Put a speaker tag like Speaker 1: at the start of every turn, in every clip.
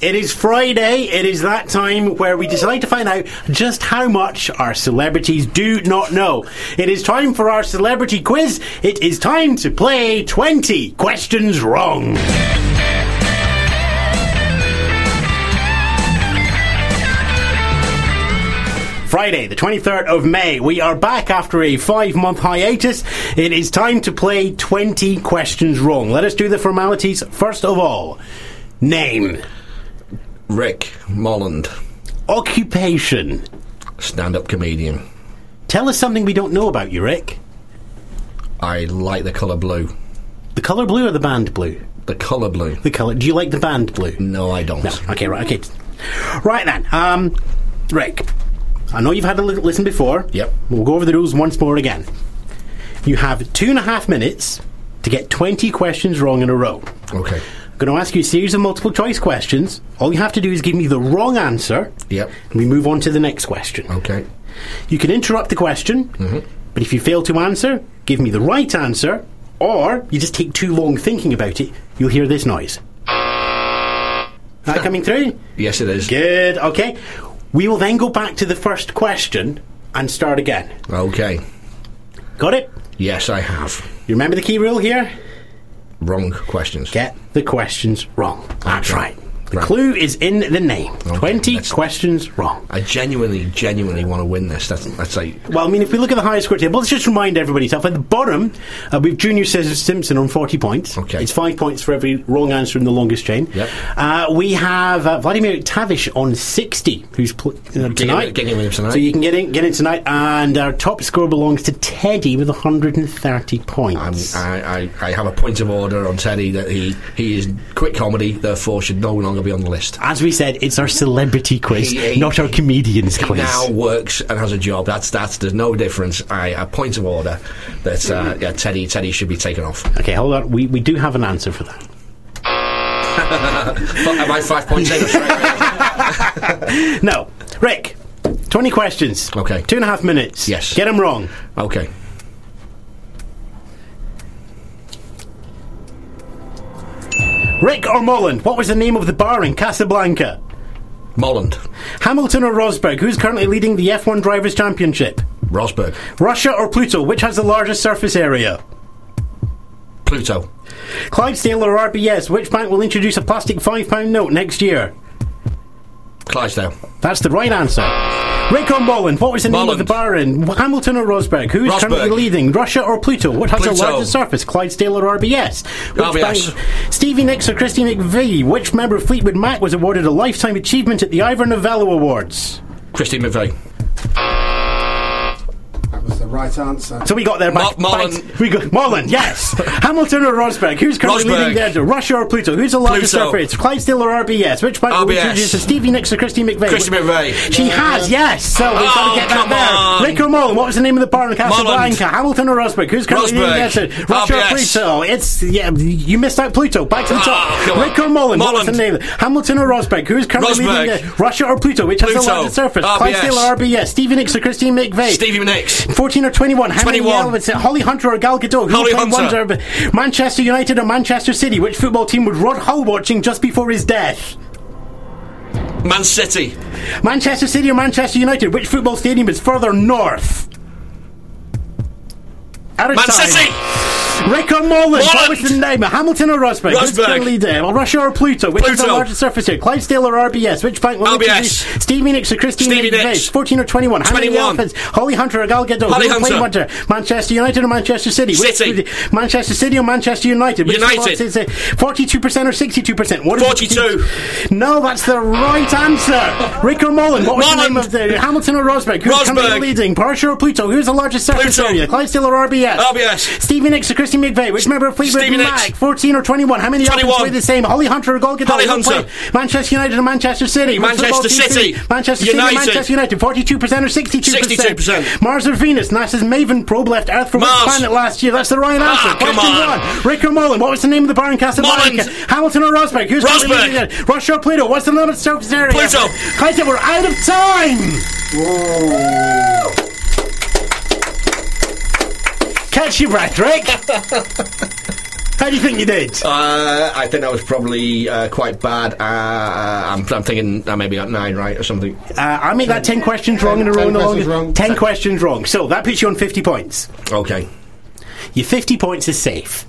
Speaker 1: It is Friday. It is that time where we decide to find out just how much our celebrities do not know. It is time for our celebrity quiz. It is time to play 20 questions wrong. Friday, the 23rd of May. We are back after a five month hiatus. It is time to play 20 questions wrong. Let us do the formalities first of all. Name.
Speaker 2: Rick Molland,
Speaker 1: Occupation.
Speaker 2: stand up comedian.
Speaker 1: Tell us something we don't know about you, Rick.
Speaker 2: I like the colour blue.
Speaker 1: The colour blue or the band blue?
Speaker 2: The colour blue.
Speaker 1: The colour. Do you like the band blue?
Speaker 2: No, I don't.
Speaker 1: Okay, right, okay. Right then, um, Rick, I know you've had a little listen before.
Speaker 2: Yep.
Speaker 1: We'll go over the rules once more again. You have two and a half minutes to get 20 questions wrong in a row.
Speaker 2: Okay.
Speaker 1: I'm going to ask you a series of multiple choice questions. All you have to do is give me the wrong answer.
Speaker 2: Yep.
Speaker 1: And we move on to the next question.
Speaker 2: Okay.
Speaker 1: You can interrupt the question,
Speaker 2: Mm-hmm.
Speaker 1: but if you fail to answer, give me the right answer, or you just take too long thinking about it, you'll hear this noise. That coming through?
Speaker 2: Yes, it is.
Speaker 1: Good, okay. We will then go back to the first question and start again.
Speaker 2: Okay.
Speaker 1: Got it?
Speaker 2: Yes, I have.
Speaker 1: You remember the key rule here?
Speaker 2: Wrong questions.
Speaker 1: Get the questions wrong. That's
Speaker 2: Okay.
Speaker 1: right. The
Speaker 2: Right.
Speaker 1: clue is in the name.
Speaker 2: Okay,
Speaker 1: 20
Speaker 2: that's-
Speaker 1: questions wrong.
Speaker 2: I genuinely, genuinely want to win this. That's, that's like,
Speaker 1: Well, I mean, if we look at the highest score table, let's just remind everybody. So, at the bottom, uh, we've Junior Sis- Simpson on 40 points.
Speaker 2: Okay.
Speaker 1: It's five points for every wrong answer in the longest chain.
Speaker 2: Yep.
Speaker 1: Uh, we have uh, Vladimir Tavish on 60, who's pl- uh, tonight.
Speaker 2: in- get in with him tonight.
Speaker 1: So you can get in, get in tonight. And our top score belongs to Teddy with 130
Speaker 2: I'm, uh,
Speaker 1: points.
Speaker 2: I, I, I have a point of order on Teddy that he, he is quick comedy, therefore should no longer be on the list.
Speaker 1: As we said, it's our celebrity quiz,
Speaker 2: He- he-
Speaker 1: not our comedians quiz.
Speaker 2: Now works and has a job. That's that's. There's no difference. I a point of order that uh, yeah, Teddy Teddy should be taken off.
Speaker 1: Okay, hold on. We, we do have an answer for that.
Speaker 2: But am I five points in? Straight away?
Speaker 1: No. Rick, 20 questions.
Speaker 2: Okay.
Speaker 1: Two and a half minutes.
Speaker 2: Yes.
Speaker 1: Get them wrong.
Speaker 2: Okay.
Speaker 1: Rick or Mullen, what was the name of the bar in Casablanca?
Speaker 2: Molland,
Speaker 1: Hamilton or Rosberg, who's currently leading the F1 Drivers' Championship?
Speaker 2: Rosberg,
Speaker 1: Russia or Pluto, which has the largest surface area?
Speaker 2: Pluto,
Speaker 1: Clydesdale or RBS, which bank will introduce a plastic £5 note next year?
Speaker 2: Clydesdale,
Speaker 1: That's the right answer. Rick or Mullen, what was the name of
Speaker 2: Mullen.
Speaker 1: the bar in Hamilton or Rosberg, who's
Speaker 2: Rosberg.
Speaker 1: currently leading? Russia or Pluto, which has the
Speaker 2: Pluto.
Speaker 1: largest surface? Clydesdale or RBS? Which
Speaker 2: RBS.
Speaker 1: Stevie Nicks or Christy McVie, which member of Fleetwood Mac was awarded a Lifetime Achievement at the Ivor Novello Awards?
Speaker 2: Christine McVeigh,
Speaker 3: That was the right answer.
Speaker 1: So we got there back.
Speaker 2: Mo- Mullen.
Speaker 1: back- we got Mullen, yes. Hamilton or Rosberg? Who's currently
Speaker 2: Rosberg.
Speaker 1: leading there? to Russia or Pluto? Who's the largest
Speaker 2: Pluto.
Speaker 1: surface? Clydesdale or RBS? Which by the way
Speaker 2: RBS.
Speaker 1: introduces Stevie Nicks or Christy McVeigh?
Speaker 2: Christy McVeigh,
Speaker 1: She has, yes. So we've got
Speaker 2: Oh,
Speaker 1: to get that
Speaker 2: come
Speaker 1: there.
Speaker 2: on.
Speaker 1: Rick or Mullen? What was the name of the bar in Casablanca?
Speaker 2: Mullen.
Speaker 1: Hamilton or Rosberg? Who's currently leading
Speaker 2: Rosberg.
Speaker 1: there? to Russia or
Speaker 2: RBS.
Speaker 1: Pluto? It's yeah. You missed out Pluto. Back to the
Speaker 2: Ah,
Speaker 1: top.
Speaker 2: come on.
Speaker 1: Rick or Mullen? What was the
Speaker 2: Mullen.
Speaker 1: name? Hamilton or Rosberg? Who's currently
Speaker 2: Rosberg.
Speaker 1: leading there? Russia or Pluto? Which has the
Speaker 2: Pluto.
Speaker 1: largest surface?
Speaker 2: RBS.
Speaker 1: Clydesdale or RBS? Stevie Nicks or Christy McVeigh?
Speaker 2: Stevie Nicks,
Speaker 1: 14 or 21. How
Speaker 2: 21.
Speaker 1: many elements? Holly Hunter or Gal Gadot? Who
Speaker 2: Holly
Speaker 1: played
Speaker 2: Hunter.
Speaker 1: Wonder- Manchester United or Manchester City? Which football team would Rod Hull watching just before his death?
Speaker 2: Man City,
Speaker 1: Manchester City or Manchester United? Which football stadium is further north? Out of
Speaker 2: Man
Speaker 1: time.
Speaker 2: City,
Speaker 1: Rick or Mullen? What
Speaker 2: Mullen.
Speaker 1: was the name? Hamilton or Rosberg? Who's
Speaker 2: Rosberg.
Speaker 1: currently there? Well, Russia or Pluto? Which is the
Speaker 2: Pluto.
Speaker 1: largest surface here? Clydesdale or RBS? Which bank will
Speaker 2: RBS.
Speaker 1: introduce Stevie Nicks or Christine
Speaker 2: Stevie
Speaker 1: McVeigh?
Speaker 2: Nicks.
Speaker 1: 14 or 21? How many
Speaker 2: 21.
Speaker 1: elephants? Holly Hunter or Gal Gadot?
Speaker 2: Holly
Speaker 1: Who will play
Speaker 2: Hunter.
Speaker 1: Hunter? Manchester United or Manchester City? Which-
Speaker 2: City.
Speaker 1: Manchester City or Manchester United? Which
Speaker 2: United.
Speaker 1: is it? 42% or 62%? What is the
Speaker 2: 42.
Speaker 1: key- No, that's the right answer. Rick or Mullen? What was the
Speaker 2: Mullen.
Speaker 1: name of the... Hamilton or Rosberg? Who's currently
Speaker 2: Rosberg.
Speaker 1: leading? Russia or Pluto? Who's the largest surface
Speaker 2: Pluto.
Speaker 1: area? Clydesdale or RBS?
Speaker 2: RBS,
Speaker 1: Stevie Nicks or Christy McVeigh? Which member of Fleetwood
Speaker 2: Stevie
Speaker 1: Mac?
Speaker 2: Nicks.
Speaker 1: 14 or 21? How many options
Speaker 2: 21.
Speaker 1: were the same? Holly Hunter or Gol Gadot?
Speaker 2: Holly
Speaker 1: Who
Speaker 2: Hunter.
Speaker 1: played Manchester United or Manchester City? Which
Speaker 2: Manchester
Speaker 1: football team
Speaker 2: City.
Speaker 1: played? Manchester City or
Speaker 2: United.
Speaker 1: Manchester United? 42% or 62%?
Speaker 2: 62%.
Speaker 1: Mars or Venus? NASA's Maven probe left Earth from
Speaker 2: Mars.
Speaker 1: which planet last year? That's the right
Speaker 2: Ah,
Speaker 1: answer.
Speaker 2: come
Speaker 1: Question
Speaker 2: on.
Speaker 1: one. Rick or Mullen? What was the name of the bar in Casablanca?
Speaker 2: Mullins.
Speaker 1: Hamilton or Rosberg? Who's
Speaker 2: Rosberg.
Speaker 1: currently leading it? Russia or Pluto? What's the limit of surface area?
Speaker 2: Pluto.
Speaker 1: Clayton, we're out of time. Catch your breath, Rick. How do you think you did?
Speaker 2: Uh, I think that was probably uh, quite bad. Uh, I'm, I'm thinking uh, maybe at nine, right, or something.
Speaker 1: Uh, I made that 10 questions wrong in a
Speaker 3: 10
Speaker 1: row. no
Speaker 3: questions
Speaker 1: longer-
Speaker 3: wrong.
Speaker 1: 10 questions wrong. So that puts you on 50 points.
Speaker 2: Okay.
Speaker 1: Your 50 points is safe.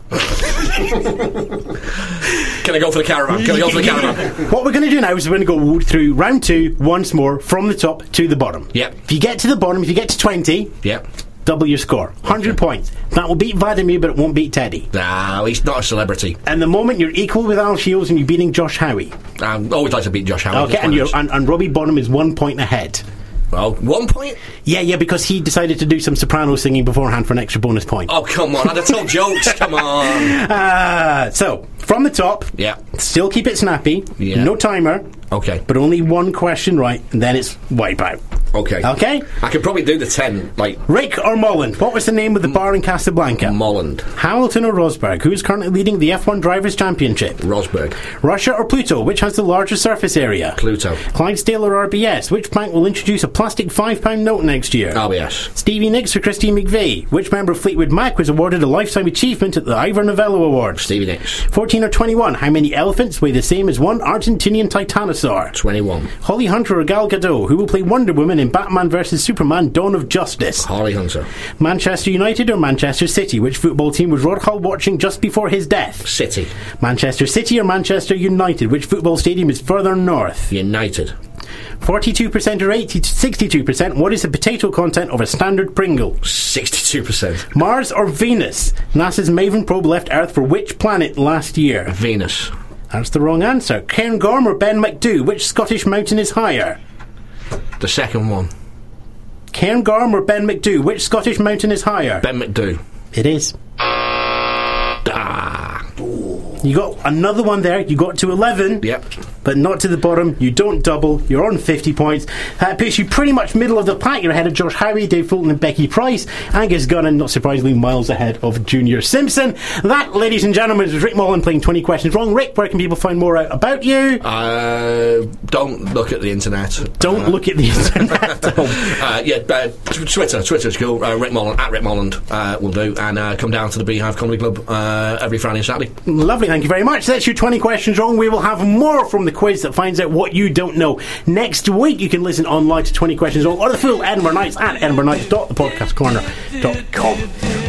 Speaker 2: Can I go for the caravan? Can I go for the caravan?
Speaker 1: What we're going to do now is we're going to go through round two once more from the top to the bottom.
Speaker 2: Yep.
Speaker 1: If you get to the bottom, if you get to 20,
Speaker 2: Yep.
Speaker 1: double your score. 100 points. That will beat Vladimir, but it won't beat Teddy.
Speaker 2: No, he's not a celebrity.
Speaker 1: And the moment you're equal with Al Shields and you're beating Josh Howie.
Speaker 2: I always like to beat Josh Howard.
Speaker 1: Okay, and, you're, and, and Robbie Bonham is one point ahead.
Speaker 2: Oh, one point?
Speaker 1: Yeah, yeah, because he decided to do some soprano singing beforehand for an extra bonus point.
Speaker 2: Oh, come on. I'd have told jokes. Come on.
Speaker 1: Uh, so, from the top,
Speaker 2: Yeah.
Speaker 1: still keep it snappy,
Speaker 2: Yeah.
Speaker 1: no timer,
Speaker 2: Okay.
Speaker 1: but only one question right, and then it's wipeout.
Speaker 2: Okay.
Speaker 1: Okay?
Speaker 2: I could probably do the 10, like
Speaker 1: Rick or Molland, what was the name of the bar in Casablanca?
Speaker 2: Molland,
Speaker 1: Hamilton or Rosberg, who is currently leading the F1 Drivers' Championship?
Speaker 2: Rosberg,
Speaker 1: Russia or Pluto, which has the larger surface area?
Speaker 2: Pluto,
Speaker 1: Clydesdale or RBS, which bank will introduce a plastic £5 note next year?
Speaker 2: RBS,
Speaker 1: Stevie Nicks or Christine McVie, which member of Fleetwood Mac was awarded a Lifetime Achievement at the Ivor Novello Awards?
Speaker 2: Stevie Nicks,
Speaker 1: 14 or 21, how many elephants weigh the same as one Argentinian titanosaur?
Speaker 2: 21,
Speaker 1: Holly Hunter or Gal Gadot, who will play Wonder Woman in Batman vs Superman Dawn of Justice?
Speaker 2: Harley Hunter,
Speaker 1: Manchester United or Manchester City, which football team was Rod Hull watching just before his death?
Speaker 2: City,
Speaker 1: Manchester City or Manchester United, which football stadium is further north?
Speaker 2: United,
Speaker 1: 42% or 80 to 62%, what is the potato content of a standard Pringle?
Speaker 2: 62%,
Speaker 1: Mars or Venus? NASA's Maven probe left Earth for which planet last year?
Speaker 2: Venus,
Speaker 1: That's the wrong answer. Cairngorm or Ben McDoo? Which Scottish mountain is higher?
Speaker 2: the second one,
Speaker 1: Cairngorm or Ben McDoo? Which Scottish mountain is higher?
Speaker 2: Ben McDoo.
Speaker 1: it is.
Speaker 2: Ah,
Speaker 1: You got another one there. You got to 11.
Speaker 2: Yep.
Speaker 1: But not to the bottom. You don't double. You're on 50 points. That puts you pretty much middle of the pack. You're ahead of Josh Howie, Dave Fulton, and Becky Price. Angus Gunnan, not surprisingly, miles ahead of Junior Simpson. That, ladies and gentlemen, is Rick Mullen playing 20 Questions Wrong. Rick, where can people find more out about you?
Speaker 2: uh, don't look at the internet.
Speaker 1: Don't look at the internet.
Speaker 2: Uh, yeah, uh, t- Twitter, Twitter's cool. Uh, Rick Molland at Rick Molland uh, will do, and uh, come down to the Beehive Comedy Club uh, every Friday and Saturday.
Speaker 1: Lovely, thank you very much. That's your 20 questions wrong. We will have more from the quiz that finds out what you don't know. Next week, you can listen online to 20 questions wrong or the full Edinburgh Nights at edinburghnights.thepodcastcorner.com.